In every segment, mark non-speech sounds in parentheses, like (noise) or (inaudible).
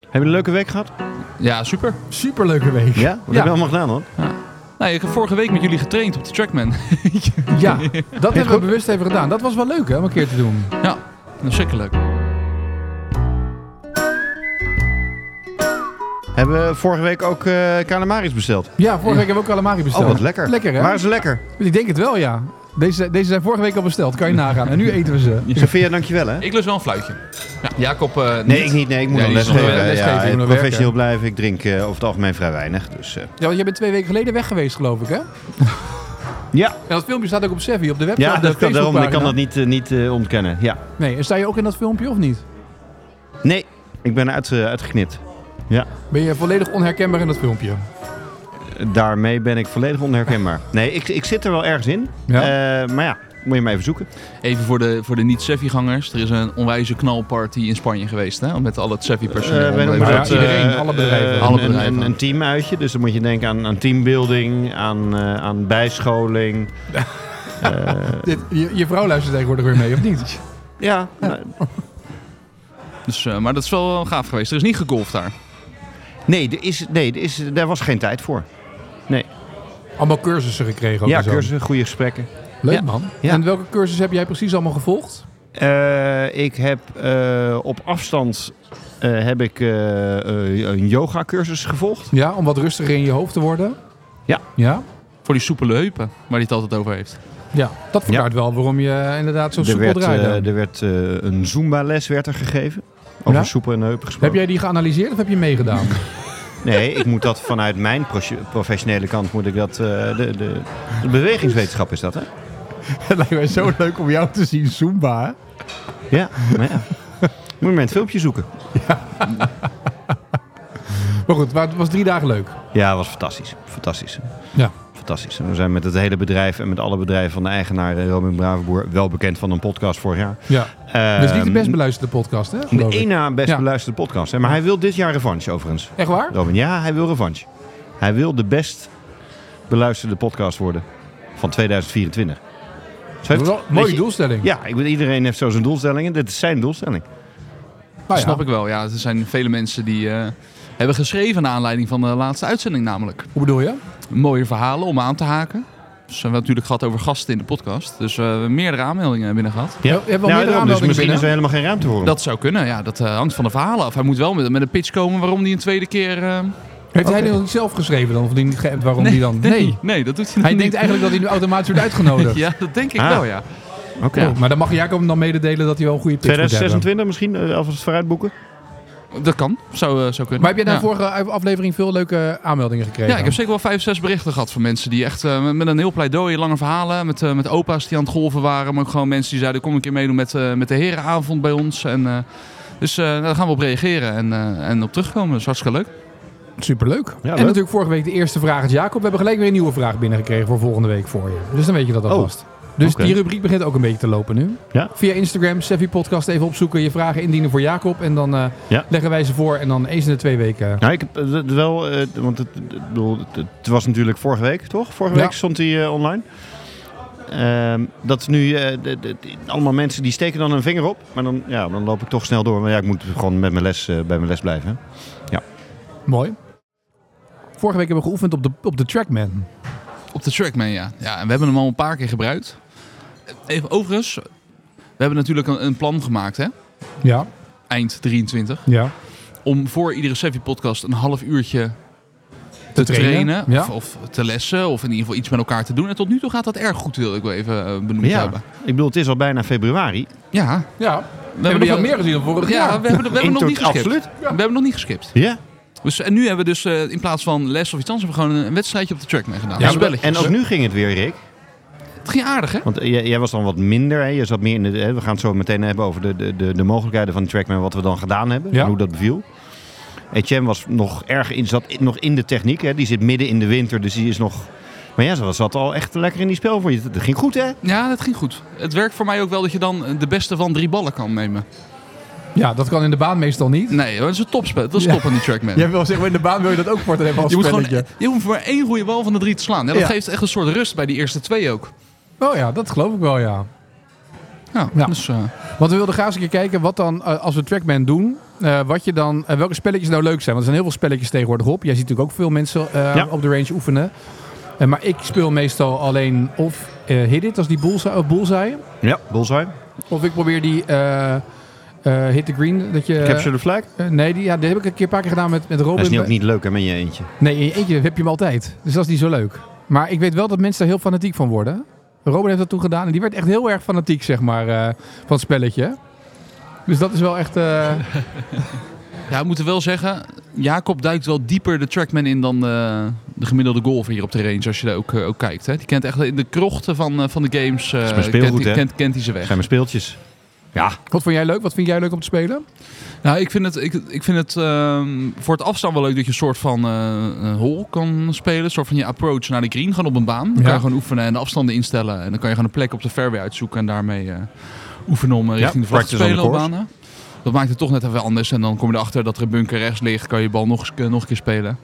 Hebben jullie een leuke week gehad? Ja, super. Superleuke week. Ja? Wat heb je allemaal gedaan dan? Nou, ik heb vorige week met jullie getraind op de Trackman. (laughs) Ja, (laughs) dat hebben we bewust even gedaan. Dat was wel leuk hè, om een keer te doen. ja, verschrikkelijk. Hebben we vorige week ook eh calamaris besteld? Ja, vorige week hebben we ook calamari besteld. Oh, wat lekker. Lekker hè? Waren ze lekker? Ik denk het wel ja. Deze, deze zijn vorige week al besteld, kan je nagaan. (laughs) En nu eten we ze. Sophia, dankjewel hè. Ik lust wel een fluitje. Ja, Jacob, eh, Nee, ik niet. Nee, ik moet Ja, nog die is lesgeven. nog, eh, Ja, lesgeven, die ja, moet nog professioneel blijven. Ik drink eh, over het algemeen vrij weinig. Dus, eh, Ja, want jij bent twee weken geleden weg geweest geloof ik hè? En ja, dat filmpje staat ook op Sevi, op de website. ja op de dat kan, daarom, ik kan Facebookpagina. dat niet, eh, niet eh, ontkennen. Ja. Nee, en sta je ook in dat filmpje of niet? Nee, ik ben uit, eh, uitgeknipt. Ben je volledig onherkenbaar in dat filmpje? Daarmee ben ik volledig onherkenbaar. Nee, ik, ik zit er wel ergens in. Ja. Eh, maar ja, moet je mij even zoeken. even voor de, voor de niet-Seffi-gangers. Er is een onwijze knalparty in Spanje geweest, hè? Met al het Eh, Seffi-personeel. wij noemen maar dat, ja, iedereen, eh, alle bedrijven. eh, Alle een- bedrijven. Een, een teamuitje. Dus dan moet je denken aan, aan teambuilding, aan, eh, aan bijscholing. Eh, Dit, je, je vrouw luistert tegenwoordig weer mee of (laughs) niet? ja, nou, dus, eh, maar dat is wel gaaf geweest. Er is niet gegolfd daar. nee, er is, nee er is, daar was geen tijd voor. Allemaal cursussen gekregen ook Ja, en zo. cursussen, goede gesprekken. Leuk Ja. man. Ja. En welke cursus heb jij precies allemaal gevolgd? Eh, ik heb eh, op afstand eh, heb ik, eh, eh, een yoga cursus gevolgd. Ja, om wat rustiger in je hoofd te worden? Ja. Ja? Voor die soepele heupen, waar hij het altijd over heeft. Ja, dat verklaart wel waarom je inderdaad zo Er soepel werd, draait. eh, er werd eh, een Zumba-les werd er gegeven. Over Ja? soepen en heupen gesproken. heb jij die geanalyseerd of heb je meegedaan? Nee, ik moet dat vanuit mijn profe- professionele kant moet ik dat. eh, de, de, de bewegingswetenschap is dat, hè? het lijkt mij zo leuk om jou te zien Zumba. hè? Ja, maar ja. Moet je maar een filmpje zoeken. Maar goed, maar het was drie dagen leuk. Ja, het was fantastisch. Fantastisch. Ja. Fantastisch. En we zijn met het hele bedrijf en met alle bedrijven van de eigenaar eh, Robin Bravenboer wel bekend van een podcast vorig jaar. Ja. Eh, Dat is niet de best beluisterde podcast, hè? De geloof ik. één na best Ja. beluisterde podcast. Hè? Maar hij wil dit jaar revanche overigens. Echt waar? Robin, ja, hij wil revanche. Hij wil de best beluisterde podcast worden van 2024. Zo heeft- Dat is wel een weet mooie je- doelstelling. Ja, ik bedoel, iedereen heeft zo zijn doelstellingen. Dit is zijn doelstelling. Nou ja. Snap ik wel. Ja, er zijn vele mensen die eh, hebben geschreven naar aanleiding van de laatste uitzending namelijk. Hoe bedoel je? Mooie verhalen om aan te haken. Dus we hebben het natuurlijk gehad over gasten in de podcast. Dus eh, we hebben meerdere aanmeldingen binnen gehad. Ja, we hebben wel meerdere daarom, aanmeldingen Dus misschien binnen. is er helemaal geen ruimte voor hem. Dat zou kunnen, ja. Dat eh, hangt van de verhalen af. Hij moet wel met, met een pitch komen waarom hij een tweede keer... eh, Heeft hij die nog niet zelf geschreven dan? Of die niet geappt waarom die dan? (laughs) nee, nee, dat doet hij Hij niet. denkt eigenlijk dat hij nu automatisch wordt uitgenodigd. (laughs) Ja, dat denk ik Ah. wel, ja. Oké. Ja. Maar dan mag Jacob hem dan mededelen dat hij wel een goede tips moet hebben. 2026 misschien, eh, alvast vooruitboeken. Dat kan. Zou, eh, zou kunnen. Maar heb je daar ja. vorige aflevering veel leuke aanmeldingen gekregen? Ja, ik heb zeker wel vijf, zes berichten gehad van mensen die echt eh, met- met een heel pleidooi, lange verhalen, met, eh, met opa's die aan het golven waren, maar ook gewoon mensen die zeiden, kom een keer meedoen met, eh, met de herenavond bij ons. En, eh, dus eh, daar gaan we op reageren en, eh, en op terugkomen. Dat is hartstikke leuk. Superleuk. leuk. En natuurlijk vorige week de eerste vraag uit Jacob. We hebben gelijk weer een nieuwe vraag binnengekregen voor volgende week voor je. Dus dan weet je dat alvast. dus oké. die rubriek begint ook een beetje te lopen nu. Ja. Via Instagram, Seffi Podcast even opzoeken. Je vragen indienen voor Jacob. En dan eh, Ja. leggen wij ze voor. En dan eens in de twee weken. Nou, ik heb eh, dat wel, eh, want het, ik bedoel, het, het was natuurlijk vorige week, toch? Vorige Ja. week stond hij eh, online. Ehm, dat is nu eh, de- de- de- allemaal mensen die steken dan een vinger op. Maar dan, ja, dan loop ik toch snel door. Maar ja, ik moet gewoon met mijn les, eh, bij mijn les blijven. hè. Mooi. Vorige week hebben we geoefend op de, op de Trackman. Op de Trackman, ja. ja. En we hebben hem al een paar keer gebruikt. Eh, Even, overigens, we hebben natuurlijk een, een plan gemaakt, hè? Ja. eind 23, Ja. om voor iedere Sevi-podcast een half uurtje te, trainen, trainen, ja. of, of te lessen, of in ieder geval iets met elkaar te doen. En tot nu toe gaat dat erg goed, wil ik wel even eh, benoemd Ja. hebben. Ik bedoel, het is al bijna februari. Ja, Ja. We we hebben nog nog wat meer gezien dan vorig Ja, jaar. we hebben, we hebben nog niet geskipt. Absoluut. We hebben nog niet geskipt. Ja. Dus, en nu hebben we dus eh, in plaats van les of iets anders, hebben we gewoon een wedstrijdje op de track mee gedaan. Ja, Ja, maar- En spelletjes. ook nu ging het weer, Rick. Het ging aardig, hè? Want eh, jij, jij was dan wat minder. Hè? Je zat meer in de, hè, we gaan het zo meteen hebben over de, de, de, de mogelijkheden van de Trackman. Wat we dan gedaan hebben. Ja. En hoe dat beviel. Etienne was nog erg in, zat in- nog in de techniek. Hè? Die zit midden in de winter. Dus die is nog... Maar jij zat, zat al echt lekker in die spel voor je. Dat ging goed, hè? Ja, dat ging goed. Het werkt voor mij ook wel dat je dan eh, de beste van drie ballen kan nemen. Ja, dat kan in de baan meestal niet. Nee, dat is een topspel. Dat is Ja. top aan die trackman. Jij wil zeggen, in de baan wil je dat ook voor te hebben als Je moet, spelletje. gewoon, e- je hoeft maar één goede bal van de drie te slaan. Ja, dat Ja. e- geeft echt een soort rust bij die eerste twee ook. Oh ja, dat geloof ik wel, ja. Ja, Ja. Dus, eh, Want we wilden graag eens een keer kijken wat dan, eh, als we Trackman doen, eh, wat je dan, eh, welke spelletjes nou leuk zijn. Want er zijn heel veel spelletjes tegenwoordig op. Jij ziet natuurlijk ook veel mensen eh, Ja. op de range oefenen. Eh, maar ik speel meestal alleen of eh Hit It, als die bullseye, of bullseye. Ja, bullseye. Of ik probeer die eh, eh, Hit the Green. Dat je, Capture the flag. Eh, nee, die, ja, die heb ik een keer een paar keer gedaan met, met Robin. Dat is niet, ook niet leuk hè, met je eentje. Nee, in je eentje heb je hem altijd. Dus dat is niet zo leuk. Maar ik weet wel dat mensen daar heel fanatiek van worden. Robin heeft dat toen gedaan en die werd echt heel erg fanatiek, zeg maar, eh, van het spelletje. Dus dat is wel echt... eh, ja, we moeten wel zeggen, Jacob duikt wel dieper de trackman in dan eh, de gemiddelde golfer hier op de range, als je daar ook, eh, ook kijkt. Hè. Die kent echt in de krochten van, eh, van de games, eh, is mijn speelgoed, kent, hè? kent, kent hij ze weg. Zijn mijn speeltjes. Ja, Wat vond jij leuk? Wat vind jij leuk om te spelen? Nou, ik vind het, ik, ik vind het ehm, voor het afstaan wel leuk dat je een soort van eh, een hole kan spelen. Een soort van je approach naar de green, gewoon op een baan. Dan Ja. kan je gewoon oefenen en de afstanden instellen. En dan kan je gewoon een plek op de fairway uitzoeken en daarmee eh, oefenen om eh, Ja, richting de vlag te practice on spelen the op course. banen. Dat maakt het toch net even anders. En dan kom je erachter dat er een bunker rechts ligt, kan je je bal nog, eens- nog een keer spelen.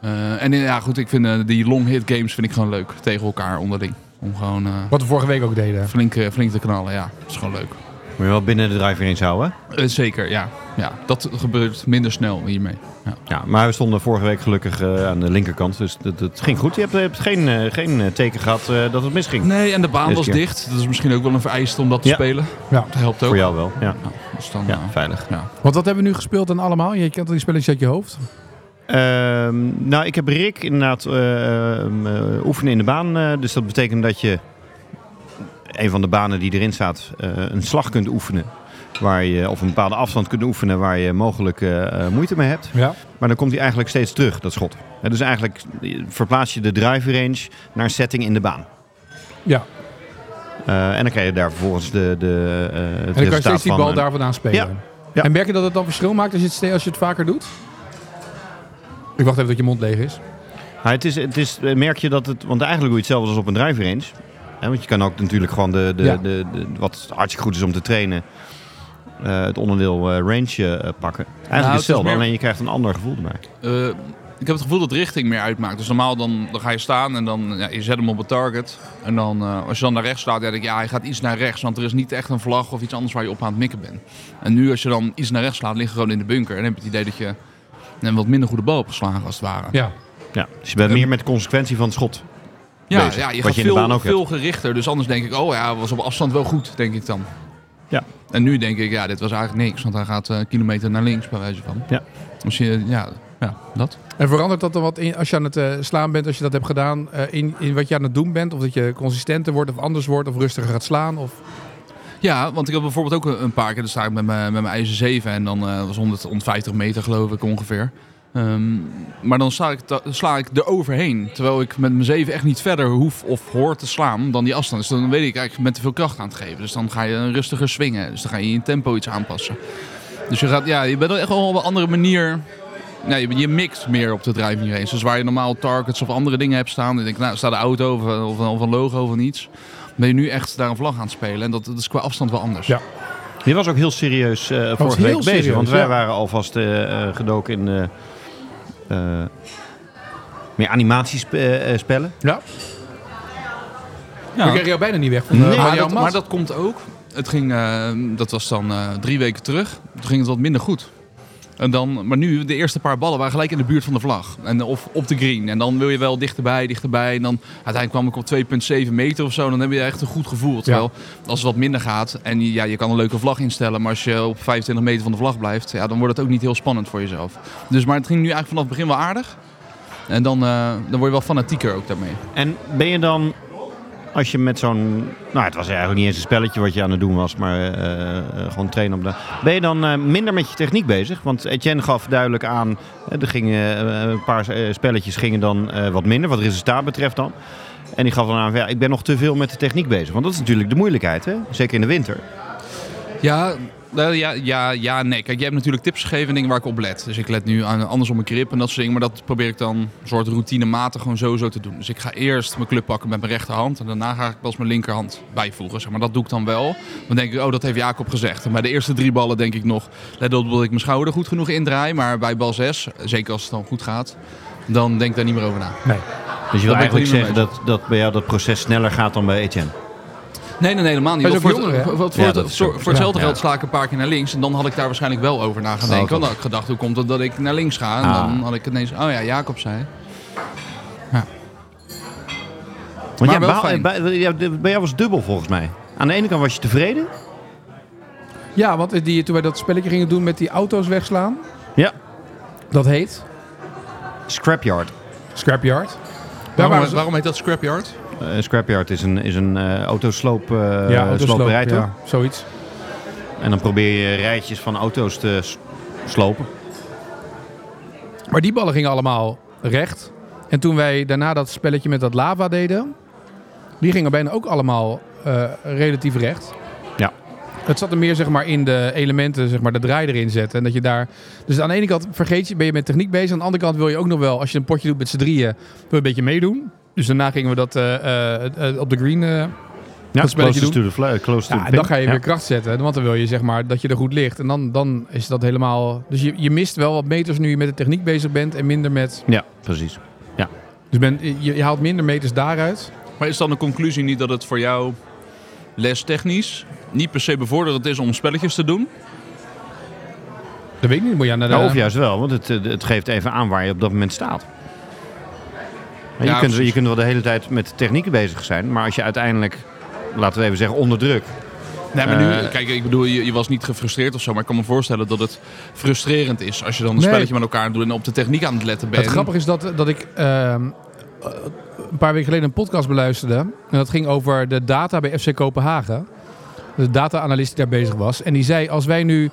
Eh, en eh, ja, goed, ik vind eh, die long hit games vind ik gewoon leuk tegen elkaar onderling. Om gewoon eh, Wat we vorige week ook deden. flink, eh, flink te knallen, ja. Dat is gewoon leuk. moet je wel binnen de driver eens houden. hè? Eh, zeker, ja. ja. Dat gebeurt minder snel hiermee. Ja, maar we stonden vorige week gelukkig eh, aan de linkerkant, dus dat, dat ging goed. Je hebt, je hebt geen, eh, geen eh, teken gehad eh, dat het misging. Nee, en de baan Deze was keer. dicht. Dat is misschien ook wel een vereiste om dat te Ja. spelen. Ja. Dat helpt ook. Voor jou wel, ja. Nou, dus dan, Ja, eh, veilig. ja. Want wat hebben we nu gespeeld en allemaal? Je kent al die spelletjes uit je hoofd. Ehm, nou, ik heb Rick inderdaad eh, ehm, eh, oefenen in de baan. eh, dus dat betekent dat je een van de banen die erin staat, eh, een slag kunt oefenen. Waar je, of een bepaalde afstand kunt oefenen waar je mogelijk eh, eh, moeite mee hebt. Ja. Maar dan komt hij eigenlijk steeds terug, dat schot. Hè, dus eigenlijk verplaats je de drive range naar setting in de baan. ja. Eh, en dan krijg je daar vervolgens de, de, eh, het En dan kan je resultaat steeds die van, bal eh, daar vandaan spelen. Ja. Ja. En merk je dat het dan verschil maakt als je het, ste- als je het vaker doet? Ik wacht even dat je mond leeg is. Ja, het is, het is, eh, merk je dat het, want eigenlijk doe je hetzelfde als op een drive range. Hè, want je kan ook natuurlijk gewoon de, de, Ja. de, de- wat hartstikke goed is om te trainen, eh, het onderdeel eh, range eh, pakken. Eigenlijk het is hetzelfde, meer- alleen je krijgt een ander gevoel erbij. Eh, ik heb het gevoel dat richting meer uitmaakt. Dus normaal dan, dan ga je staan en dan ja, je zet hem op het target. En dan, eh, als je dan naar rechts staat, ja, denk ik, ja, hij gaat iets naar rechts. Want er is niet echt een vlag of iets anders waar je op aan het mikken bent. En nu als je dan iets naar rechts slaat, lig je gewoon in de bunker. En dan heb je het idee dat je een wat minder goede bal hebt geslagen als het ware. Ja. Ja, dus je bent Ehm, meer met de consequentie van het schot. ja, bezig, ja, je wat gaat je in de veel, baan ook veel gerichter. Dus anders denk ik, oh ja, was op afstand wel goed, denk ik dan. Ja. En nu denk ik, ja, dit was eigenlijk niks. Want hij gaat eh, een kilometer naar links, bij wijze van. Ja. Dus je, ja, ja, dat. En verandert dat dan wat in, als je aan het eh, slaan bent, als je dat hebt gedaan, eh, in, in wat je aan het doen bent? Of dat je consistenter wordt of anders wordt of rustiger gaat slaan? Of... Ja, want ik heb bijvoorbeeld ook een- een paar keer, dan sta ik met mijn, met mijn ijzer 7 en dan eh, was 100, 150 meter geloof ik ongeveer. Ehm, maar dan sla ik, ta- sla ik er overheen, terwijl ik met mijn 7 echt niet verder hoef of hoor te slaan dan die afstand. Dus dan weet ik eigenlijk met te veel kracht aan het geven. Dus dan ga je een rustiger swingen, dus dan ga je je tempo iets aanpassen. Dus je, gaat, ja, je bent wel echt wel op een andere manier, ja, je, je mixt meer op de driving range. Dus waar je normaal targets of andere dingen hebt staan, dan denk ik, nou staat een auto of, of, of een logo of iets ben je nu echt daar een vlag aan het spelen. En dat, dat is qua afstand wel anders. Ja. Je was ook heel serieus eh, vorige heel week bezig, serieus, want wij ja. waren alvast eh, eh, gedoken in eh, eh, meer eh, animatiespellen. Ja. Ja. Ik kreeg jou bijna niet weg van Nee, nee, maar, dat, maar dat komt ook. Het ging, eh, dat was dan eh, drie weken terug. Toen ging het wat minder goed. En dan, maar nu, de eerste paar ballen waren gelijk in de buurt van de vlag. En, of op de green. En dan wil je wel dichterbij, dichterbij. En dan uiteindelijk kwam ik op 2,7 meter of zo. Dan heb je echt een goed gevoel. Terwijl als het wat minder gaat. En je- ja, je kan een leuke vlag instellen. Maar als je op 25 meter van de vlag blijft. Ja, dan wordt het ook niet heel spannend voor jezelf. Dus, maar het ging nu eigenlijk vanaf het begin wel aardig. En dan, eh, dan word je wel fanatieker ook daarmee. En ben je dan, als je met zo'n... Nou, het was eigenlijk niet eens een spelletje wat je aan het doen was, maar eh, eh, gewoon trainen op de... Ben je dan eh, minder met je techniek bezig? Want Etienne gaf duidelijk aan, eh, er gingen, eh, een paar eh, spelletjes gingen dan eh, wat minder, wat resultaat betreft dan. En die gaf dan aan, van, ja, ik ben nog te veel met de techniek bezig. Want dat is natuurlijk de moeilijkheid, hè? zeker in de winter. Ja, nou ja, ja, ja, nee. Kijk, jij hebt natuurlijk tips gegeven en dingen waar ik op let. Dus ik let nu aan, anders op mijn grip en dat soort dingen. Maar dat probeer ik dan een soort routinematig gewoon sowieso te doen. Dus ik ga eerst mijn club pakken met mijn rechterhand. En daarna ga ik pas mijn linkerhand bijvoegen. Zeg maar dat doe ik dan wel. Dan denk ik, oh, dat heeft Jacob gezegd. En bij de eerste drie ballen denk ik nog, let op dat ik mijn schouder goed genoeg indraai. Maar bij bal 6, zeker als het dan goed gaat, dan denk ik daar niet meer over na. Dus je wil ben ik eigenlijk er niet mee zeggen dat, dat bij jou dat proces sneller gaat dan bij Etienne. Nee, nee, nee, helemaal niet. Hij is Want ook voor, jonger, het- hè? voor- voor, Ja, het- dat is voor, ook- voor hetzelfde ja. geld sla ik een paar keer naar links. En dan had ik daar waarschijnlijk wel over na gaan Oh, denken. goed. dan had ik gedacht, hoe komt het dat ik naar links ga? En Ah. dan had ik ineens, oh ja, Jacob zei. Want Maar jij wel behaal- fijn. bij, ja, de- bij jou was het dubbel volgens mij. Aan de ene kant was je tevreden. Ja, want eh, die, toen wij dat spelletje gingen doen met die auto's wegslaan. Ja. Dat heet Scrapyard. Scrapyard. Daar Waarom, waren ze... waarom heet dat scrapyard? Eh, scrapyard is een, is een eh autosloop, eh ja, autosloop, sloperij, toch? ja, zoiets. En dan probeer je rijtjes van auto's te s- slopen. Maar die ballen gingen allemaal recht. En toen wij daarna dat spelletje met dat lava deden, die gingen bijna ook allemaal eh, relatief recht. Ja. Het zat er meer zeg maar, in de elementen, zeg maar, de draai erin zetten. En dat je daar... Dus aan de ene kant vergeet je, ben je met techniek bezig. Aan de andere kant wil je ook nog wel, als je een potje doet met z'n drieën, wil je een beetje meedoen. Dus daarna gingen we dat eh, eh, eh, op de green. eh, Ja, Dat spelletje close to the fla- close to ja, the en dan pin. ga je Ja. weer kracht zetten. Want dan wil je zeg maar dat je er goed ligt. En dan, dan is dat helemaal. Dus je, je mist wel wat meters nu je met de techniek bezig bent. En minder met Ja, precies. Dus ben, je, je haalt minder meters daaruit. Maar is dan de conclusie niet dat het voor jou lestechnisch niet per se bevorderend is om spelletjes te doen? Dat weet ik niet. Moet je naar de, Nou, of juist wel, want het, eh, het geeft even aan waar je op dat moment staat. En Ja, je, kunt, precies. je kunt wel de hele tijd met technieken bezig zijn, maar als je uiteindelijk, laten we even zeggen, onder druk. Nee, maar nu, Eh, kijk, ik bedoel, je, je was niet gefrustreerd of zo. Maar ik kan me voorstellen dat het frustrerend is als je dan een Nee. spelletje met elkaar doet en op de techniek aan het letten bent. Het grappige is dat, dat ik ehm, eh, een paar weken geleden een podcast beluisterde. En dat ging over de data bij FC Kopenhagen. De data-analyst die daar bezig was. En die zei, als wij nu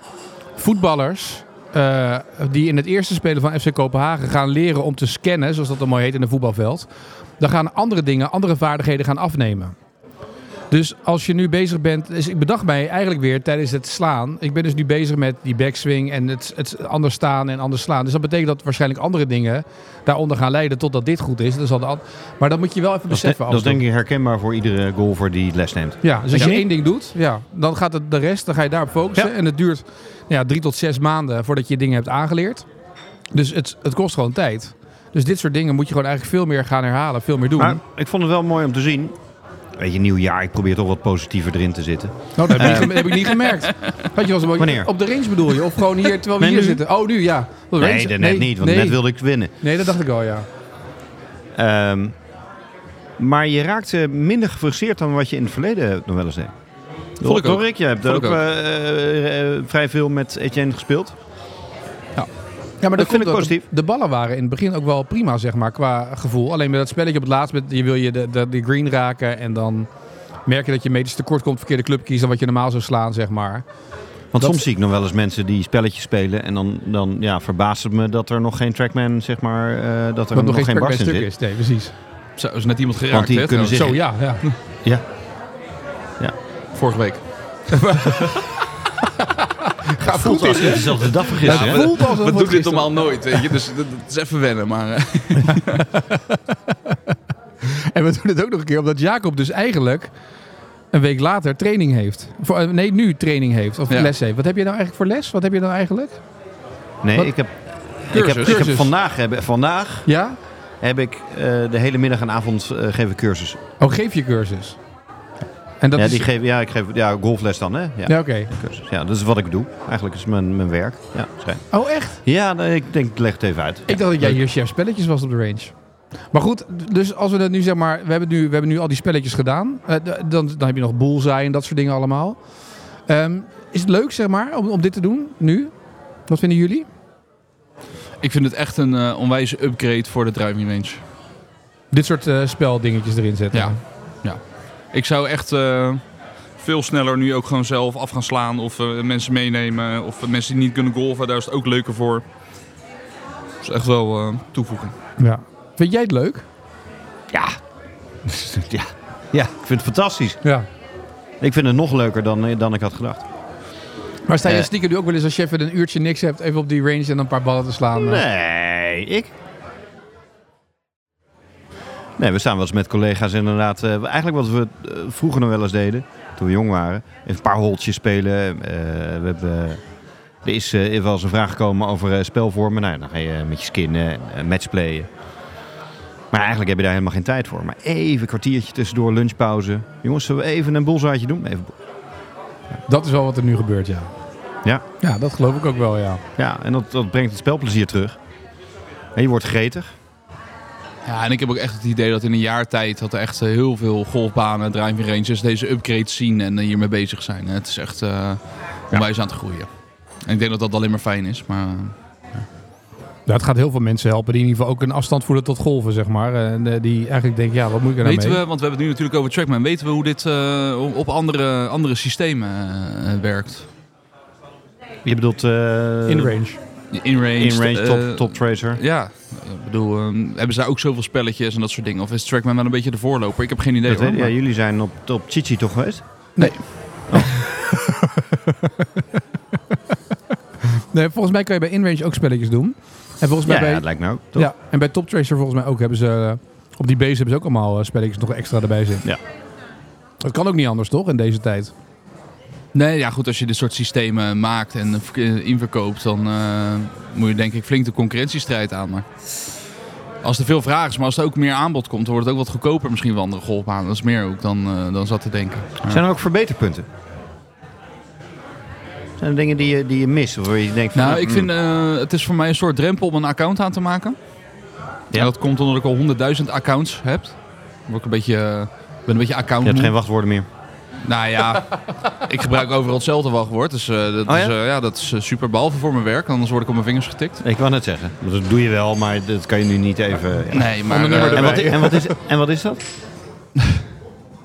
voetballers eh, die in het eerste spelen van FC Kopenhagen gaan leren om te scannen, zoals dat dan mooi heet in een voetbalveld. Dan gaan andere dingen, andere vaardigheden gaan afnemen. Dus als je nu bezig bent, dus ik bedacht mij eigenlijk weer tijdens het slaan. Ik ben dus nu bezig met die backswing en het, het anders staan en anders slaan. Dus dat betekent dat waarschijnlijk andere dingen daaronder gaan leiden totdat dit goed is. Dus dat, al- maar dat moet je wel even Dat, is- beseffen. dat is af en toe. denk ik herkenbaar voor iedere golfer die les neemt. Ja, dus als Ja. je één ding doet, ja, dan gaat het de rest, dan ga je daarop focussen. Ja. En het duurt ja, drie tot zes maanden voordat je dingen hebt aangeleerd. Dus het, het kost gewoon tijd. Dus dit soort dingen moet je gewoon eigenlijk veel meer gaan herhalen, veel meer doen. Maar ik vond het wel mooi om te zien. Weet je, nieuw jaar, ik probeer toch wat positiever erin te zitten. Nou, dat heb, ik niet, gem- heb ik niet gemerkt. Had je wel eens een- Wanneer? Op de range bedoel je? Of gewoon hier, terwijl we Nee, hier nu. zitten? Oh, nu ja. Op de Nee, range? dat net niet, want nee, net wilde ik winnen. Nee, dat dacht ik al, ja. Ehm, maar je raakt eh, minder gefrustreerd dan wat je in het verleden nog wel eens deed. Vond ik ook. Rick, je hebt Vond ook, ik ook. eh, eh, vrij veel met Etienne gespeeld. Ja, maar Dat vind komt ik ook- positief. De ballen waren in het begin ook wel prima, zeg maar, qua gevoel. Alleen bij dat spelletje op het laatst, met, je wil je de, de, de green raken en dan merk je dat je meters tekort komt, verkeerde club kiezen dan wat je normaal zou slaan, zeg maar. Want Dat- soms zie ik nog wel eens mensen die spelletjes spelen. En dan, dan ja, verbaast het me dat er nog geen trackman, zeg maar, eh, dat er Dat nog, geen per barst in stuk zit. is. Nee, precies. Zo, is net iemand geraakt, Want die hè, kunnen trouwens, Zo, ja. ja. vorige (laughs) week. Ga goed Als je dezelfde dag vergist, Ja, hè? voelt alsof We het doen dit gisteren- normaal nooit, weet je. Dus dat, dat is even wennen, maar... eh, En we doen het ook nog een keer omdat Jacob dus eigenlijk een week later training heeft. Voor, eh, nee, nu training heeft of Ja. les heeft. Wat heb je nou eigenlijk voor les? Wat heb je nou eigenlijk? Nee, Wat? ik heb, ik Cursus. heb, ik heb Cursus. vandaag, heb, vandaag Ja? heb ik eh, de hele middag en avond eh geef ik cursus. Oh, geef je cursus. En dat Ja, is... die geef, ja, ik geef ja, golfles dan, hè? Ja. Ja, oké. cursus. Ja, dat is wat ik doe. Eigenlijk is mijn, mijn werk. Ja, schijn. Oh, echt? ja nee, ik denk, ik leg het even uit. Ik dacht dat jij hier chef spelletjes was op de range. Maar goed, d- dus als we dat nu zeg maar... We hebben nu, we hebben nu al die spelletjes gedaan. Eh, d- dan, dan heb je nog bullseye en dat soort dingen allemaal. Ehm, is het leuk zeg maar om, om dit te doen nu? Wat vinden jullie? ik vind het echt een eh, onwijze upgrade voor de driving range. Dit soort eh, speldingetjes erin zetten. Ja. Ik zou echt eh, veel sneller nu ook gewoon zelf af gaan slaan. Of eh, mensen meenemen. Of mensen die niet kunnen golven, daar is het ook leuker voor. Dat is echt wel eh, toevoeging. ja. Vind jij het leuk? Ja. (laughs) ja. Ja, ik vind het fantastisch. Ja. Ik vind het nog leuker dan, dan ik had gedacht. Maar sta je Eh. stiekem nu ook wel eens als je even een uurtje niks hebt, even op die range en dan een paar ballen te slaan? eh? Nee, ik? Nee, we staan wel eens met collega's inderdaad. eh, eigenlijk wat we eh, vroeger nog wel eens deden, toen we jong waren. Even een paar holtjes spelen. eh, we hebben, er is eh, wel eens een vraag gekomen over eh, spelvormen. Nou, dan ga je met je skinnen, eh, matchplayen. Maar eigenlijk heb je daar helemaal geen tijd voor. Maar even een kwartiertje tussendoor, lunchpauze. Jongens, zullen we even een bolzaadje doen? Even, bo- Dat is wel wat er nu gebeurt, ja. Ja. Ja, dat geloof ik ook wel, ja. ja, en dat, dat brengt het spelplezier terug. En je wordt gretig. Ja, en ik heb ook echt het idee dat in een jaar tijd dat er echt eh, heel veel golfbanen, driving ranges deze upgrades zien en eh, hiermee bezig zijn. Het is echt eh onwijs aan het groeien. En ik denk dat dat alleen maar fijn is, maar eh, Ja, het gaat heel veel mensen helpen die in ieder geval ook een afstand voelen tot golven, zeg maar. En eh, die eigenlijk denken, ja, wat moet ik er nou weten mee? we, want we hebben het nu natuurlijk over Trackman, weten we hoe dit eh, op- op andere, andere systemen eh, werkt? Je bedoelt... eh, In range. In-range, in range, eh, top, top tracer. Ja, ik bedoel, eh, hebben ze daar ook zoveel spelletjes en dat soort dingen? Of is Trackman wel een beetje de voorloper? Ik heb geen idee Dat hoor, weet- ja, maar- jullie zijn op, op Chichi toch geweest? Nee, volgens mij kan je bij in-range ook spelletjes doen. En volgens mij Ja, ja, bij, dat lijkt me ook. Toch? ja, en bij Top Tracer volgens mij ook hebben ze... eh, op die base hebben ze ook allemaal eh, spelletjes nog extra erbij zitten. Ja. Dat kan ook niet anders, toch, in deze tijd? Nee, ja goed, als je dit soort systemen maakt en verk- eh, inverkoopt, dan eh, moet je denk ik flink de concurrentiestrijd aan. Maar als er veel vraag is, maar als er ook meer aanbod komt, dan wordt het ook wat goedkoper misschien wel andere golfbanen. Dat is meer ook dan, eh, dan zat te denken. Maar- Zijn er ook verbeterpunten? Zijn er dingen die je, die je mist? Of waar je denkt van, Nou, ik mm, vind eh, het is voor mij een soort drempel om een account aan te maken. Ja. En dat komt omdat ik al honderdduizend accounts heb. Dan Word ik een beetje, eh, ben een beetje account. Je hebt geen wachtwoorden meer. Nou ja, ik gebruik overal hetzelfde wachtwoord. Dus eh, Oh dat, ja? Is, eh, ja, dat is eh, super, behalve voor mijn werk. Anders word ik op mijn vingers getikt. Ik wou net zeggen. Dat doe je wel, maar dat kan je nu niet even... ja. Nee, maar Ander nummer eh, En, wat, en, wat is, en wat is dat?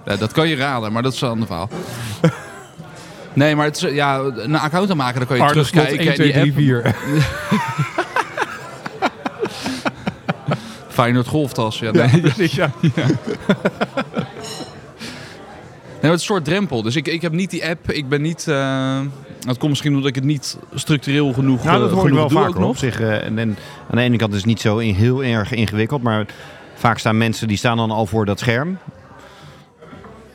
eh, dat kan je raden, maar dat is een (laughs) ander verhaal. Nee, maar het is, eh, ja, een account aanmaken, dan kan je Arne Slot, terugkijken. 1, 2, die E 3, app, 4. Feyenoord (laughs) golftas. Ja, nee. precies, ja. Nee, maar het is een soort drempel. Dus ik, ik heb niet die app. Ik ben niet. eh, dat komt misschien omdat ik het niet structureel genoeg. Nou, dat eh, hoor ik genoeg wel doe vaker ook op zich. eh, en, en aan de ene kant is het niet zo in, heel erg ingewikkeld, maar vaak staan mensen die staan dan al voor dat scherm.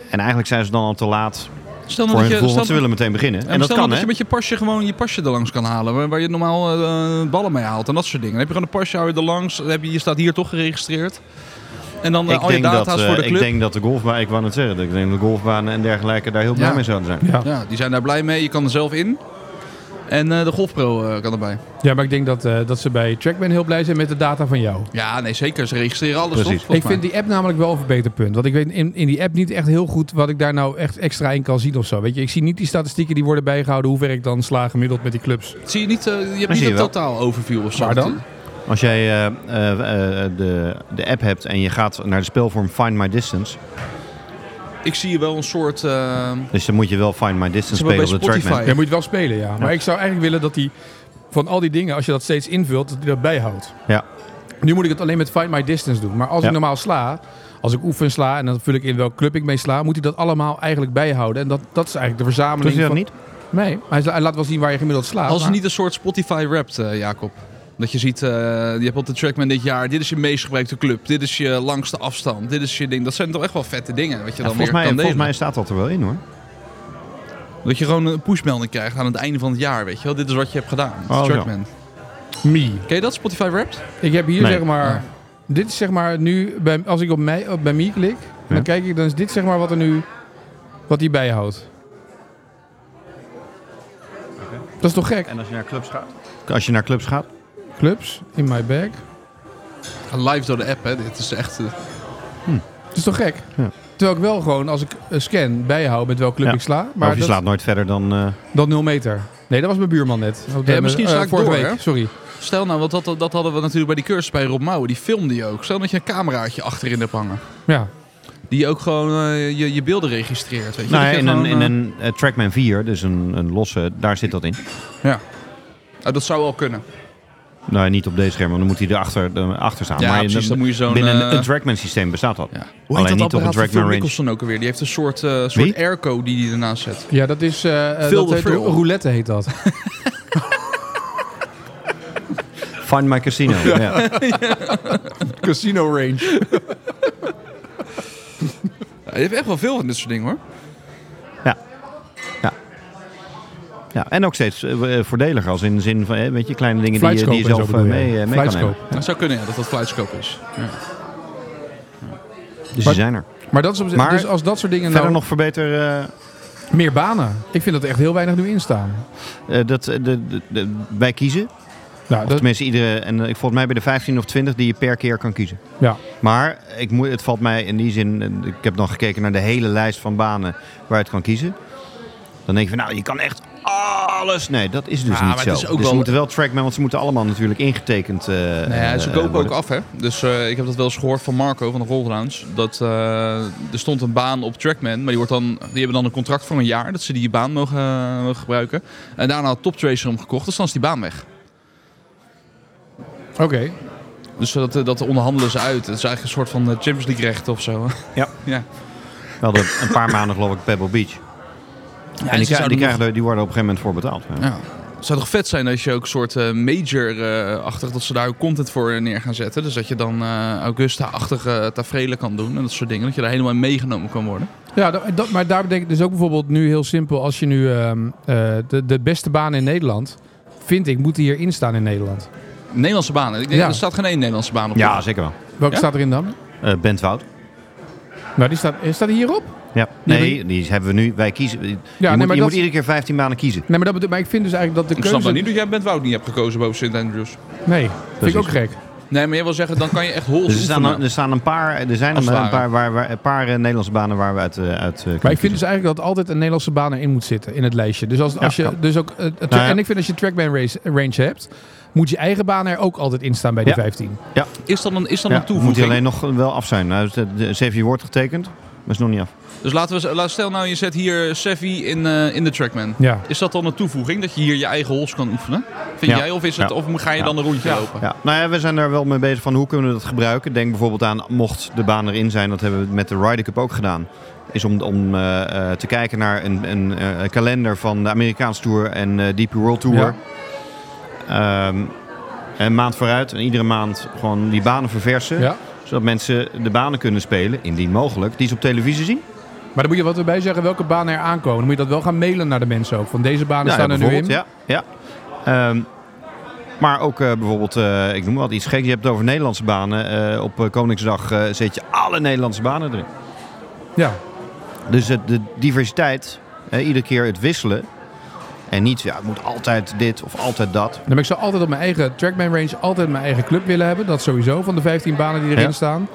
En eigenlijk zijn ze dan al te laat Stel nou voor hun dat je, gevoel, stel, want ze willen meteen beginnen. ja, en maar dat stel nou kan, dat hè? je met je pasje gewoon je pasje er langs kan halen. Waar, waar je normaal eh, ballen mee haalt en dat soort dingen. Dan heb je gewoon een pasje, hou je er langs. Dan heb je, je staat hier toch geregistreerd. En dan eh, Ik al je denk, dat, data's voor de eh, ik club. denk dat de golfbaan, ik wou net zeggen, dat ik denk dat de golfbanen en dergelijke daar heel blij Ja. mee zouden zijn. Ja. Ja, die zijn daar blij mee. Je kan er zelf in. En eh, de golfpro eh, kan erbij. ja, maar ik denk dat, eh, dat ze bij Trackman heel blij zijn met de data van jou. Ja, nee, zeker. Ze registreren alles. Precies. toch, volgens ik vind mij. die app namelijk wel een verbeterpunt. Want ik weet in, in die app niet echt heel goed wat ik daar nou echt extra in kan zien of zo. Weet je, ik zie niet die statistieken die worden bijgehouden, hoe ver ik dan sla gemiddeld met die clubs. Zie je niet, eh, je hebt zie niet je een wel. totaal overview of zo. Waar dan? Als jij eh, eh, eh, de, de app hebt en je gaat naar de spelvorm Find My Distance, Ik zie je wel een soort... eh, dus dan moet je wel Find My Distance Ze hebben spelen op de bij Spotify. trackman. Ja, moet je wel spelen, ja. Maar ik zou eigenlijk willen dat die van al die dingen, als je dat steeds invult, dat die dat bijhoudt. Ja. Nu moet ik het alleen met Find My Distance doen. Maar als Ja. ik normaal sla, als ik oefen sla en dan vul ik in welk club ik mee sla, moet hij dat allemaal eigenlijk bijhouden. En dat, dat is eigenlijk de verzameling. Doet hij dat van... niet? Nee, hij la- hij laat wel zien waar je gemiddeld slaat. Als het maar- niet een soort Spotify rapt, eh, Jacob. Dat je ziet, eh, je hebt op de Trackman dit jaar, dit is je meest gebruikte club, dit is je langste afstand, dit is je ding. Dat zijn toch echt wel vette dingen, wat je Ja, dan volgens, weer mij, kan volgens delen. mij staat dat er wel in hoor. Dat je gewoon een pushmelding krijgt aan het einde van het jaar, weet je wel. Dit is wat je hebt gedaan, met de Oh, zo. Trackman. Me. Ken je dat, Spotify rapt? Ik heb hier Nee. zeg maar. Ja. Dit is zeg maar nu. Bij, als ik op, mij, op bij mij klik. Ja. Dan kijk ik. Dan is dit zeg maar wat er nu. Wat hij bijhoudt. Dat is toch gek? En als je naar clubs gaat? Als je naar clubs gaat. Clubs in my bag. Live door de app, hè. Dit is echt... eh, Dat is toch gek? Ja. Terwijl ik wel gewoon als ik eh, scan bijhoud met welk club Ja. ik sla. Maar Maar of je dat, slaat nooit verder dan... eh, dat 0 meter. Nee, dat was mijn buurman net. Op de- Ja, misschien eh, sla ik vorige door, week. hè? Sorry. Stel nou, want dat, dat hadden we natuurlijk bij die cursus bij Rob Mouwen. Die filmde je ook. Stel dat je een cameraatje achterin hebt hangen. Ja. Die ook gewoon eh, je, je beelden registreert, weet je. nou, Dat ja, je in een, gewoon, in eh, een eh, Trackman 4, dus een, een losse, daar zit dat in. oh, dat zou wel kunnen. Nou, niet op deze scherm, want dan moet hij erachter eh, achter staan. Ja, maar in- precies. Dan moet je zo'n... binnen eh, een Trackman systeem bestaat dat. Ja. Hoe heet dat niet op een apparaat van Dragman Phil range. Mickelson Nicholson ook alweer. Die heeft een soort, Wie? soort airco die hij ernaast zet. ja, dat is. eh, eh, Phil dat de heet, Phil. roulette heet dat. Find My Casino. ja. Casino range. je hebt echt wel veel van dit soort dingen hoor. Ja, en ook steeds eh, eh, voordeliger als in de zin van, eh, weet je, kleine dingen die, je- die Flightscope je en zo zelf eh, bedoel je. mee, eh, mee kan Flightscope. nemen. Dat zou kunnen ja, dat dat fluitscope is. Ja. Dus die Maar- zijn er. Maar, dat is op- Maar dus als dat soort dingen Verder nou, nog verbeter eh, meer banen. Ik vind dat er echt heel weinig nu in staan. eh, dat, eh, de, de, de- wij kiezen. Nou, dat, Tenminste, iedere, en eh, volgens mij bij de 15 of 20 die je per keer kan kiezen. ja. Maar ik moet, het valt mij in die zin, en ik heb dan gekeken naar de hele lijst van banen waar je het kan kiezen. Dan denk je van nou, je kan echt alles. Nee, dat is dus Ah, niet maar zo. het is ook dus wel- ze moeten wel trackman, want ze moeten allemaal natuurlijk ingetekend eh Nou ja, ze eh, kopen ook worden. af, hè. Dus eh, ik heb dat wel eens gehoord van Marco van de Rollgrounds. Dat eh, er stond een baan op Trackman, maar die, wordt dan, die hebben dan een contract voor een jaar dat ze die baan mogen, eh, mogen gebruiken. En daarna had Toptracer hem gekocht, dus dan is die baan weg. Oké. Dus dat, eh, dat onderhandelen ze uit. Het is eigenlijk een soort van eh, Champions League recht of zo. (laughs) We hadden een paar maanden geloof ik Pebble Beach. en die, krijgen- die, krijgen, er- die worden op een gegeven moment voor betaald. Ja. Ja. Het zou toch vet zijn als je ook een soort eh, major-achtig, dat ze daar ook content voor neer gaan zetten. Dus dat je dan eh, Augusta-achtige tafereelen kan doen en dat soort dingen. Dat je daar helemaal in meegenomen kan worden. Ja, dat, dat- maar daar betekent dus ook bijvoorbeeld nu heel simpel. Als je nu ehm, eh, de, de beste banen in Nederland, vind ik, moeten hierin staan in Nederland. Nederlandse banen. Ik denk, Ja. Er staat geen één Nederlandse baan op. Ja, zeker wel. Welke Ja? staat erin dan? Eh Bent Wout. Nou, die staat, eh, staat die hierop? Ja. Die Nee, die hebben we nu. Wij kiezen. je nee, moet, maar je dat- moet iedere keer 15 banen kiezen. Nee, maar, dat bedo- maar ik vind dus eigenlijk dat de Ik snap keuze... dan niet dat jij Bent Wout niet hebt gekozen boven St. Andrews. Nee, vind ik ook gek. Nee, maar jij wil zeggen, dan kan je echt hols Dus er, staan, oefenen. er staan een paar, er zijn Als een, het een ware. paar, waar, waar- een paar eh, Nederlandse banen waar we uit, eh, uit eh, kunnen Maar ik vind kiezen. dus eigenlijk dat altijd een Nederlandse baan erin moet zitten in het lijstje. Dus als, als Ja, je kan. dus ook. eh, tra- Nou ja. En ik vind als je trackman race, range hebt, moet je eigen baan er ook altijd in staan bij die Ja. 15. Is dat een, is dat Ja, een toevoeging? Moet hij alleen nog wel af zijn. Nou, de, de Xavier wordt getekend, maar is nog niet af. Dus laten we, laat- stel nou je zet hier Sevi in, eh, in de Trackman. Ja. Is dat dan een toevoeging, dat je hier je eigen hols kan oefenen? Vind Ja. jij, of, is het, Ja. of ga je Ja. dan een rondje lopen? Ja. Nou ja, we zijn daar wel mee bezig van hoe kunnen we dat gebruiken. Denk bijvoorbeeld aan, mocht de baan erin zijn, dat hebben we met de Ryder Cup ook gedaan. Is om, om eh, eh, te kijken naar een, een eh, kalender van de Amerikaanse Tour en eh DP World Tour. Ehm, een maand vooruit en iedere maand gewoon die banen verversen. Ja. Zodat mensen de banen kunnen spelen, indien mogelijk, die ze op televisie zien. Maar dan moet je wat erbij zeggen welke banen er aankomen. Dan moet je dat wel gaan mailen naar de mensen ook. Van deze banen Ja, staan ja, er nu in. bijvoorbeeld, Ja, ja. Ehm, maar ook eh, bijvoorbeeld, eh, ik noem wat iets geks. Je hebt het over Nederlandse banen. Eh, op eh, Koningsdag eh, zet je alle Nederlandse banen erin. Ja. Dus het- de diversiteit, eh, iedere keer het wisselen. En niet, ja, het moet altijd dit of altijd dat. Dan ben ik zo altijd op mijn eigen trackman range, altijd mijn eigen club willen hebben. Dat sowieso van de 15 banen die erin Ja. staan.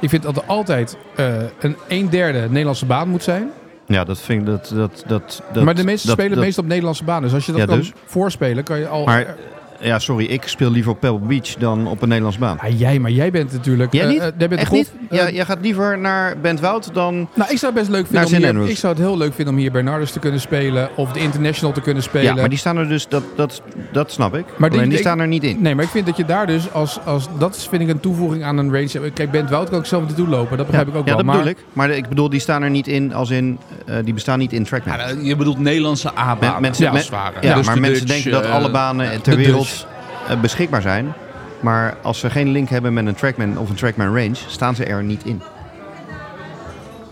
Ik vind dat er altijd eh, een 1 derde Nederlandse baan moet zijn. Ja, dat vind ik, dat... dat, dat, dat maar de meesten dat- spelen dat- meestal op Nederlandse banen. Dus als je dat Ja, kan dus. voorspelen, kan je al... Maar, ja, sorry, ik speel liever op Pebble Beach dan op een Nederlandse baan. Ah, jij, maar jij bent natuurlijk... Jij eh, niet? eh, jij bent Echt golf- niet? eh, Ja, jij gaat liever naar Bent Woud dan... Nou, ik zou het best Naar leuk vinden. Om St. hier, Andrews. ik zou het heel leuk vinden om hier Bernardus te kunnen spelen. Of de International te kunnen spelen. Ja, maar die staan er dus, dat, dat, dat snap ik. Maar die- Alleen die ik- staan er niet in. Nee, maar ik vind dat je daar dus als, als. Dat is, vind ik een toevoeging aan een range. Kijk, Bent Wout kan ook zelf naartoe lopen. Dat begrijp ik ook ja, wel. dat maar, bedoel ik. Maar de- ik bedoel, die staan er niet in als in... eh, die bestaan niet in Trackman. Ja, je bedoelt Nederlandse A-banen. Men- mensen- als men- het ware. Ja, Dus maar de mensen Dutch, denken dat eh, alle banen ter de wereld Dutch. eh, beschikbaar zijn. Maar als ze geen link hebben met een Trackman of een Trackman range... staan ze er niet in.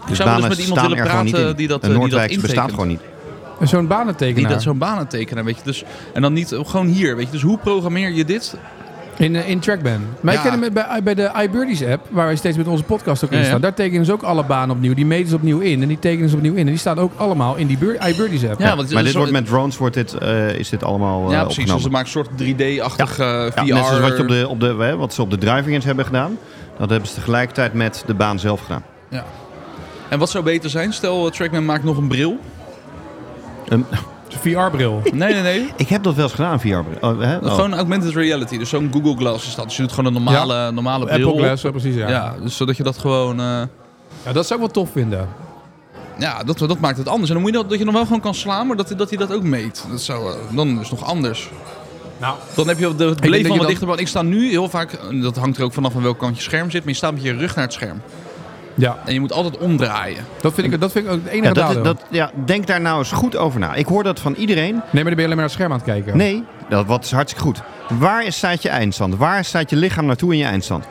dus met iemand willen praten die dat, Een eh, die dat Noordwijk bestaat intekent. gewoon niet. Zo'n Die banentekenaar. dat zo'n banen tekenen, weet je. Dus, en dan niet, gewoon hier, weet je. Dus hoe programmeer je dit? in, eh, in Trackman. Maar Ja. ik ken hem bij, bij de iBirdies app. Waar wij steeds met onze podcast ook in Ja, ja. staan. Daar tekenen ze ook alle banen opnieuw. Die meten ze opnieuw in. En die tekenen ze opnieuw in. En die staan ook allemaal in die Bur- iBirdies app. Ja, want maar dit zo- wordt met drones wordt dit, eh, is dit allemaal eh, Ja, precies. Dus opgenomen. ze maken een soort 3D-achtig eh, VR. Ja, net zoals wat, je op de, op de, hè, wat ze op de driving range hebben gedaan. Dat hebben ze tegelijkertijd met de baan zelf gedaan. Ja. En wat zou beter zijn? Stel, eh, Trackman maakt nog een bril. Zo'n VR-bril. Nee, nee, nee. Ik heb dat wel eens gedaan via... Oh, hè? Oh. Gewoon augmented reality. Dus zo'n Google Glass is dat. Dus je doet gewoon een normale, normale bril. Apple op. Glass, ja, precies. Ja. Ja, Ja. dus zodat je dat gewoon... eh, dat zou ik wel tof vinden. ja, dat, dat maakt het anders. En dan moet je dat, dat je nog wel gewoon kan slaan, maar dat, dat hij dat ook meet. Dat zou, eh, dan is het nog anders. Nou, Dan heb je de het denk dat beleven je van wat dan- dichterbij. Want Ik sta nu heel vaak, en dat hangt er ook vanaf aan welk kant je scherm zit, maar je staat met je rug naar het scherm. ja. En je moet altijd omdraaien. Dat vind, ik, dat vind ik ook het enige Ja, dat, nadeel. is- dat, ja, denk daar nou eens goed over na. Ik hoor dat van iedereen. Nee, maar dan ben je alleen maar naar het scherm aan het kijken. Nee, dat wat is hartstikke goed. Waar is- staat je eindstand? Waar staat je lichaam naartoe in je eindstand?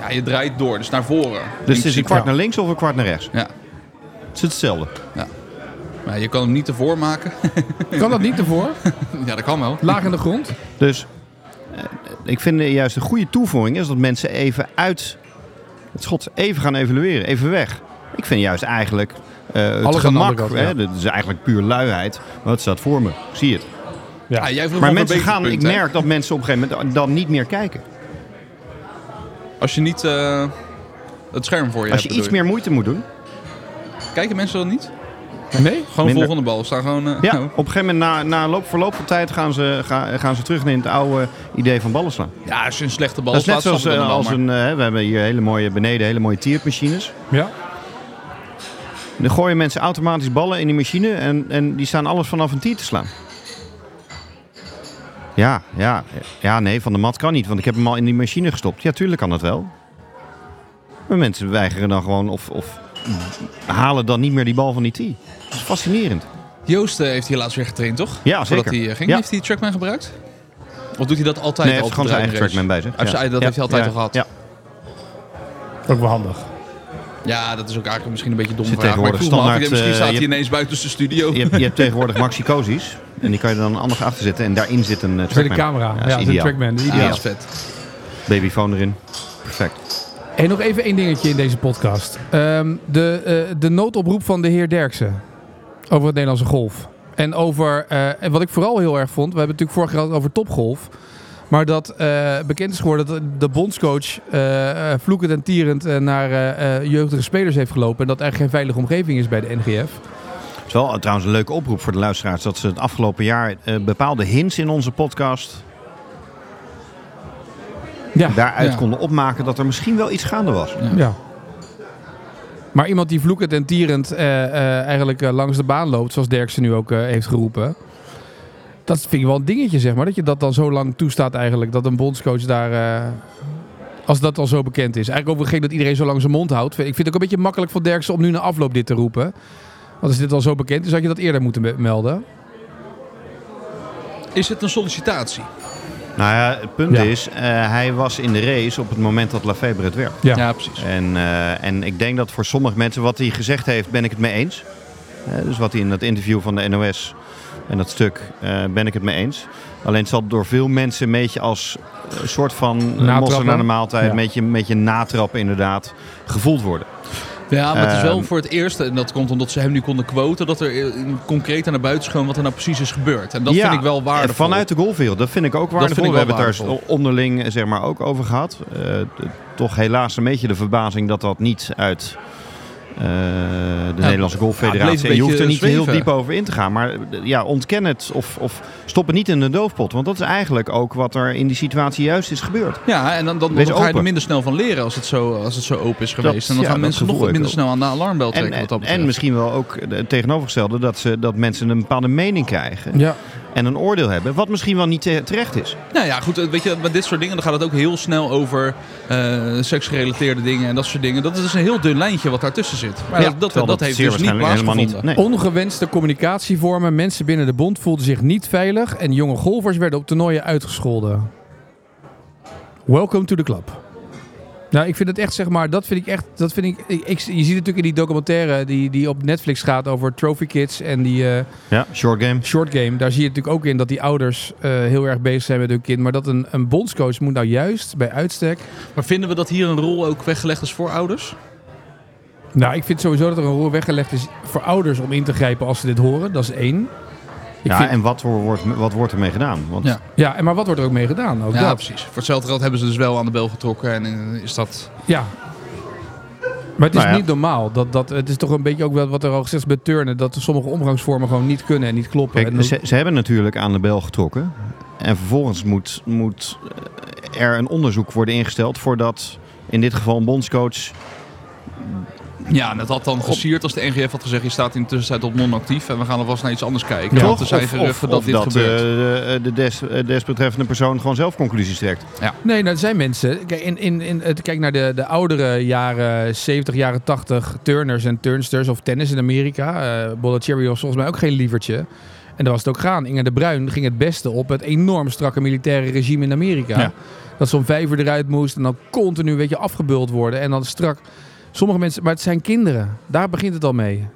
Ja, je draait door, dus naar voren. Dus het is een In kwart principe. naar links of een kwart naar rechts? Ja, Het is hetzelfde. maar je kan hem niet ervoor maken. (laughs) Kan dat niet ervoor? ja, dat kan wel. Laag in de grond? Dus eh, ik vind eh, juist een goede toevoeging is dat mensen even uit het schot even gaan evalueren, even weg. Ik vind juist eigenlijk eh, het Alles aan de gemak, andere kant, hè, ja. dat is eigenlijk puur luiheid. Maar het staat voor me, ik zie het. Ja. Ah, jij vroeg Maar op een mensen gaan, ik bekerpunt, hè? merk dat mensen op een gegeven moment dan niet meer kijken. Als je niet eh, het scherm voor je Als je hebt, iets bedoel meer moeite moet doen. Kijken mensen dan niet? Gewoon Nee? Minder. volgende bal. Staan gewoon... eh, Ja, op een gegeven moment na, na loop, verloop van tijd gaan ze, ga- gaan ze terug naar het oude idee van ballen slaan. (laughs) ja, als je een slechte bal Dat is net zoals slaat, snap ik eh, dat wel, als maar- een, eh, we hebben hier hele mooie beneden, hele mooie tiermachines. Ja. Dan gooien mensen automatisch ballen in die machine en, en die staan alles vanaf een tier te slaan. Ja, ja, ja, nee, van de mat kan niet, want ik heb hem al in die machine gestopt. Ja, tuurlijk kan dat wel. Maar mensen weigeren dan gewoon of, of halen dan niet meer die bal van die tee. Dat is fascinerend. Joost eh, heeft hier laatst weer getraind, toch? Ja, zeker. Voordat hij eh, ging. Ja. Heeft hij Trackman gebruikt? Of doet hij dat Nee, altijd hij al heeft gewoon zijn eigen trackman bij zich. Hij heeft zijn eigen- dat heeft hij altijd al gehad. Ja. Ook wel handig. Ja, dat is ook eigenlijk misschien een beetje dom Zit vraag. Maar ik tegenwoordig vroeg me af, ik standaard, denk, misschien eh, staat je- hij ineens buiten zijn studio. Je hebt, je hebt tegenwoordig maxi cozies en die kan je dan anders achter zetten en daarin zit een eh, Voor de trackman. camera. Ja, Ja, dat is de ideaal. trackman. de Ja, ideaal. dat is vet. Babyfoon erin. Perfect. En nog even één dingetje in deze podcast. Ehm, de, eh, de noodoproep van de heer Derksen over het Nederlandse golf. En over, eh, en wat ik vooral heel erg vond, we hebben het natuurlijk vorig jaar gehad over topgolf. Maar dat eh, bekend is geworden dat de bondscoach eh, eh, vloekend en tierend eh, naar eh, eh, jeugdige spelers heeft gelopen. En dat er geen veilige omgeving is bij de NGF. Het is wel eh, trouwens een leuke oproep voor de luisteraars dat ze het afgelopen jaar eh, bepaalde hints in onze podcast Ja, daaruit Ja. konden opmaken dat er misschien wel iets gaande was. Ja. Maar iemand die vloekend en tierend eh, eh, eigenlijk eh, langs de baan loopt, zoals Derksen nu ook eh, heeft geroepen. Dat vind ik wel een dingetje, zeg maar. Dat je dat dan zo lang toestaat eigenlijk. Dat een bondscoach daar... eh, als dat al zo bekend is. Eigenlijk ook geen dat iedereen zo lang zijn mond houdt. Ik vind het ook een beetje makkelijk van Derksen om nu na afloop dit te roepen. Want als dit al zo bekend is, had je dat eerder moeten me- melden. Is het een sollicitatie? Nou ja, het punt Ja. is, eh, hij was in de race op het moment dat Lafebre het werd. Ja. precies. En, eh, en ik denk dat voor sommige mensen wat hij gezegd heeft, ben ik het mee eens. Eh, dus wat hij in dat interview van de NOS en dat stuk, eh, ben ik het mee eens. Alleen het zal door veel mensen een beetje als een soort van eh, mossen Natrappen. naar de maaltijd, Ja. een, beetje, een beetje natrappen inderdaad, gevoeld worden. Ja, maar het is wel Ehm, voor het eerst, en dat komt omdat ze hem nu konden quoten, dat er eh, concreet naar buiten is gekomen wat er nou precies is gebeurd. En dat Ja, eh, vind ik wel waardevol. Vanuit de golfwereld, dat vind ik ook vind waardevol. ik We wel hebben het daar waardevol. onderling eh, zeg maar, ook over gehad. Eh, d- toch helaas een beetje de verbazing dat dat niet uit eh, de Nederlandse het bleef Golffederatie... een je hoeft er niet beetje heel zweven. diep over in te gaan. Maar eh, d- ja, ontken het of, of stop het niet in de doofpot. Want dat is eigenlijk ook wat er in die situatie juist is gebeurd. Ja, en dan, dan, Wees dan ga je er open. minder minder snel van leren als het zo, als het zo open is geweest. en dan ja, gaan dat mensen nog gevoel heb wat ik minder wel. snel aan de alarmbel trekken. En, eh, wat dat en, betreft. en misschien wel ook het tegenovergestelde... Dat, ze, dat mensen een bepaalde mening krijgen Ja. en een oordeel hebben. Wat misschien wel niet te- terecht is. Nou ja, goed, weet je, met dit soort dingen dan gaat het ook heel snel over eh, seksgerelateerde dingen en dat soort dingen. Dat is dus een heel dun lijntje wat daartussen zit. Maar Ja, dat, dat, terwijl dat heeft zeer dus niet waarschijnlijk helemaal plaatsgevonden. niet. nee. Ongewenste communicatievormen. Mensen binnen de bond voelden zich niet veilig. En jonge golfers werden op toernooien uitgescholden. Welcome to the club. Nou, ik vind het echt, zeg maar, dat vind ik echt, dat vind ik, ik, ik- je ziet het natuurlijk in die documentaire die, die op Netflix gaat over Trophy Kids en die eh, Ja, short game. short game. Daar zie je natuurlijk ook in dat die ouders eh, heel erg bezig zijn met hun kind. Maar dat een, een bondscoach moet nou juist bij uitstek. Maar vinden we dat hier een rol ook weggelegd is voor ouders? Nou, ik vind sowieso dat er een rol weggelegd is voor ouders om in te grijpen als ze dit horen. Dat is één. Ik ja, vind- en wat, wo- wordt, wat wordt ermee gedaan? Want Ja. ja, en maar wat wordt er ook mee gedaan? Ook Ja, dat. precies. Voor hetzelfde geld hebben ze dus wel aan de bel getrokken en eh, is dat... Ja. Maar het is Nou ja. niet normaal. Dat, dat, het is toch een beetje ook wel wat er al gezegd is bij turnen. Dat sommige omgangsvormen gewoon niet kunnen en niet kloppen. Kijk, En dan- ze, ze hebben natuurlijk aan de bel getrokken. En vervolgens moet, moet eh, er een onderzoek worden ingesteld voordat in dit geval een bondscoach. Ja, en dat had dan gesierd als de NGF had gezegd, je staat in de tussentijd op non-actief en we gaan alvast naar iets anders kijken. Ja. Want toch er zijn of, geruchten of- dat of dit dat, gebeurt. eh, de, de des, eh, desbetreffende persoon gewoon zelf conclusies trekt. Nee, nou, er zijn mensen. Kijk, in, in, in, het- kijk naar de, de oudere jaren 70, jaren 80. Turners en turnsters of tennis in Amerika. Eh Bollettieri was volgens mij ook geen lievertje. En daar was het ook gaan. Inge de Bruin ging het beste op het enorm strakke militaire regime in Amerika. Ja. Dat zo'n vijver eruit moest en dan continu een beetje afgebuld worden. En dan strak. Sommige mensen, maar het zijn kinderen. Daar begint het al mee.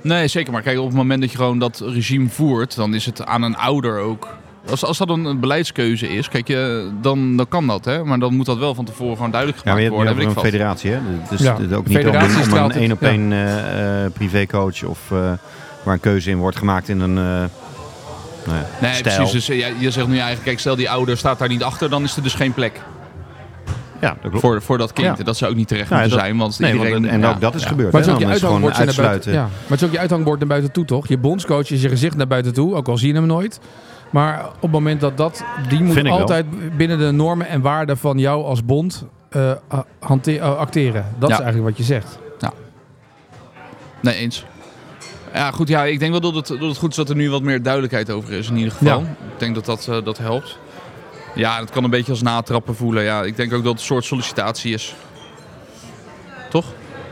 Nee, zeker. Maar kijk, op het moment dat je gewoon dat regime voert, dan is het aan een ouder ook Als, als dat een een beleidskeuze is, kijk, je, dan, dan kan dat. Hè? Maar dan moet dat wel van tevoren gewoon duidelijk Ja, maar gemaakt je hebt nu worden. over weet ik een vast. federatie, hè? Dus Ja. het is ook niet om, Federatie een- om straalt een het- één op één eh, eh, privécoach of eh, waar een keuze in wordt gemaakt in een eh, nou ja, Nee, stijl. precies. Dus, eh, ja, je zegt nu eigenlijk, kijk, stel die ouder staat daar niet achter, dan is er dus geen plek Ja, dat klopt. voor, voor dat kind. Ja. En Dat zou ook niet terecht Nou ja, moeten dat- zijn, want nee, want iedereen... en- en ja, ook dat is ja. gebeurd. Maar hè? het, is ook je Dan is gewoon uithangbord naar buiten, uitsluiten. ja, maar het is ook je uithangbord naar buiten toe, toch? Je bondscoach is je gezicht naar buiten toe, ook al zie je hem nooit. Maar op het moment dat dat... Die Vind moet ik wel. altijd binnen de normen en waarden van jou als bond eh, a- hante- eh, acteren. Dat Ja. is eigenlijk wat je zegt. Nee, eens. Ja, goed. Ja, ik denk wel dat het, dat het goed is dat er nu wat meer duidelijkheid over is in ieder geval. Ja. Ik denk dat dat, eh, dat helpt. Ja, het kan een beetje als natrappen voelen. Ja, ik denk ook dat het een soort sollicitatie is. Toch?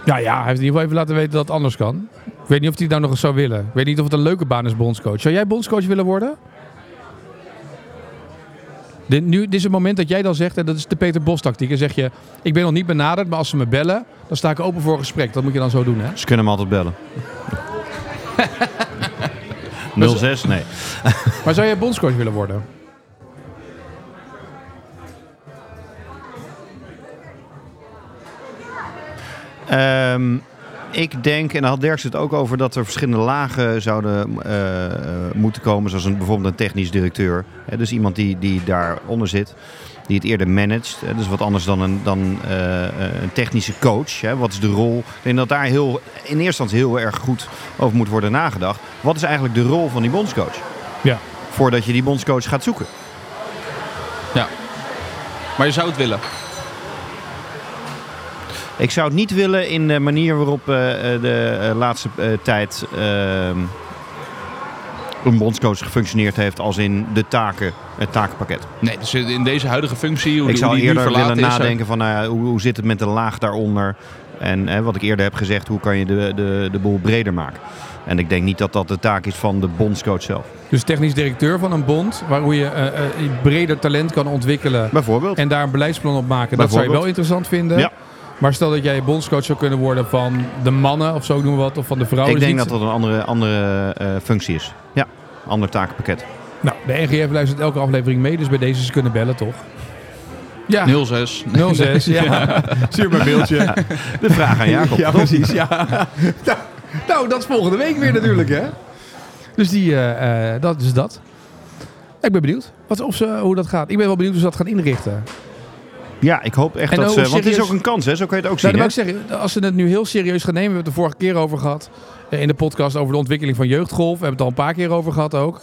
Ja, Nou ja, hij heeft in ieder geval even laten weten dat het anders kan. Ik weet niet of hij het nou nog eens zou willen. Ik weet niet of het een leuke baan is, bondscoach. Zou jij bondscoach willen worden? Dit, nu, dit is het moment dat jij dan zegt, en dat is de Peter Bos tactiek. Dan zeg je, ik ben nog niet benaderd, maar als ze me bellen, dan sta ik open voor een gesprek. Dat moet je dan zo doen, hè? Ze kunnen hem altijd (laughs) bellen. 06? Nee. Maar zou jij bondscoach willen worden? Ehm, ik denk, en daar had Derks het ook over, dat er verschillende lagen zouden eh, eh, moeten komen. Zoals een, bijvoorbeeld een technisch directeur. Hè, dus iemand die, die daaronder zit. Die het eerder managt. Hè, dus wat anders dan een, dan, eh, eh, een technische coach. Hè, wat is de rol? Ik denk dat daar heel, in eerste instantie heel erg goed over moet worden nagedacht. Wat is eigenlijk de rol van die bondscoach? Ja. Voordat je die bondscoach gaat zoeken. Maar je zou het willen. Ik zou het niet willen in de manier waarop eh, eh, de eh, laatste eh, tijd ehm, een bondscoach gefunctioneerd heeft als in de taken, het takenpakket. Nee, dus in deze huidige functie, hoe, ik die- hoe zou die nu eerder verlaten willen is... zou- nadenken van nou ja, hoe, hoe zit het met de laag daaronder. En hè, wat ik eerder heb gezegd, hoe kan je de, de, de boel breder maken. En ik denk niet dat dat de taak is van de bondscoach zelf. Dus technisch directeur van een bond, waar hoe je eh, eh, je breder talent kan ontwikkelen Bijvoorbeeld. en daar een beleidsplan op maken. Dat zou je wel interessant vinden. Ja. Maar stel dat jij bondscoach zou kunnen worden van de mannen, of zo noemen we wat, of van de vrouwen. ik Dus denk niet- dat dat een andere, andere eh, functie is. Ja, ander takenpakket. Nou, de NGF luistert elke aflevering mee, dus bij deze ze kunnen bellen, toch? Ja, 06. 06. ja. Stuur me een mailtje. De vraag aan (laughs) Jacob. Ja, precies. Ja. Nou, nou, dat is volgende week weer natuurlijk, hè? Dus die, eh, eh, dat is dat. Ik ben benieuwd wat, of ze, hoe dat gaat. Ik ben wel benieuwd hoe ze dat gaan inrichten. Ja, ik hoop echt En dat hoe ze... Want het is serieus- ook een kans, hè? zo kan je het ook Nou, zien. dan hè? wou ik zeggen, als ze het nu heel serieus gaan nemen, we hebben het de vorige keer over gehad. eh, In de podcast over de ontwikkeling van jeugdgolf. We hebben het al een paar keer over gehad ook.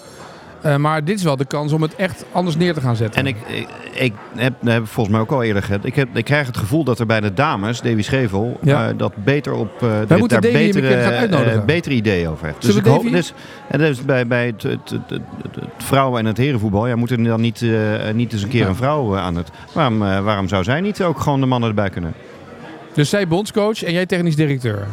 Eh, maar dit is wel de kans om het echt anders neer te gaan zetten. En ik, ik, ik heb, dat heb ik volgens mij ook al eerder gehad. Ik, heb, ik krijg het gevoel dat er bij de dames, Davy Schevel, Ja. eh, dat beter op. eh dat moeten daar Davy een betere, keer gaan uitnodigen. eh, betere ideeën over heeft. Dus Zullen ik we hoop, Davy- dus, en dat is bij, bij het, het, het, het- het vrouwen- en het herenvoetbal. Ja, moeten er dan niet, eh, niet eens een keer Ja. een vrouw eh, aan het. Waarom, eh, waarom zou zij niet ook gewoon de mannen erbij kunnen? Dus zij bondscoach en jij technisch directeur.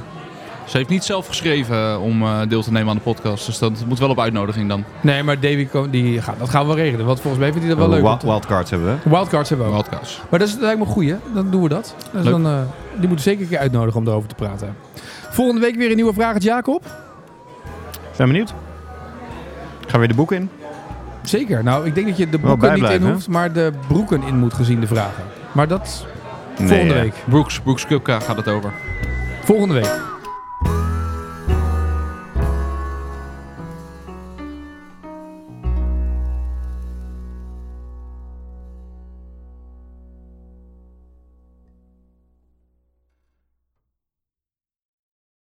Ze heeft niet zelf geschreven om eh, deel te nemen aan de podcast. Dus dat moet wel op uitnodiging dan. Oh. Nee, maar Davy, ko- die gaat, dat gaan we wel regelen. Want volgens mij vindt hij dat wel leuk. Wa- om te- wildcards hebben we. Wildcards hebben we ook. Podcast. Maar dat is dat lijkt me een goeie. Dan doen we dat. Dus Leuk. dan, eh, die moeten we zeker een keer uitnodigen om erover te praten. Volgende week weer een nieuwe vraag het Jacob. Zijn we benieuwd? Gaan we weer de boek in? Zeker. Nou, ik denk dat je de Wel boeken niet in bijblijven, hè? hoeft, maar de broeken in moet gezien de vragen. Maar dat Nee, volgende ja. week. Brooks, Brooks Cupka gaat het over. Volgende week.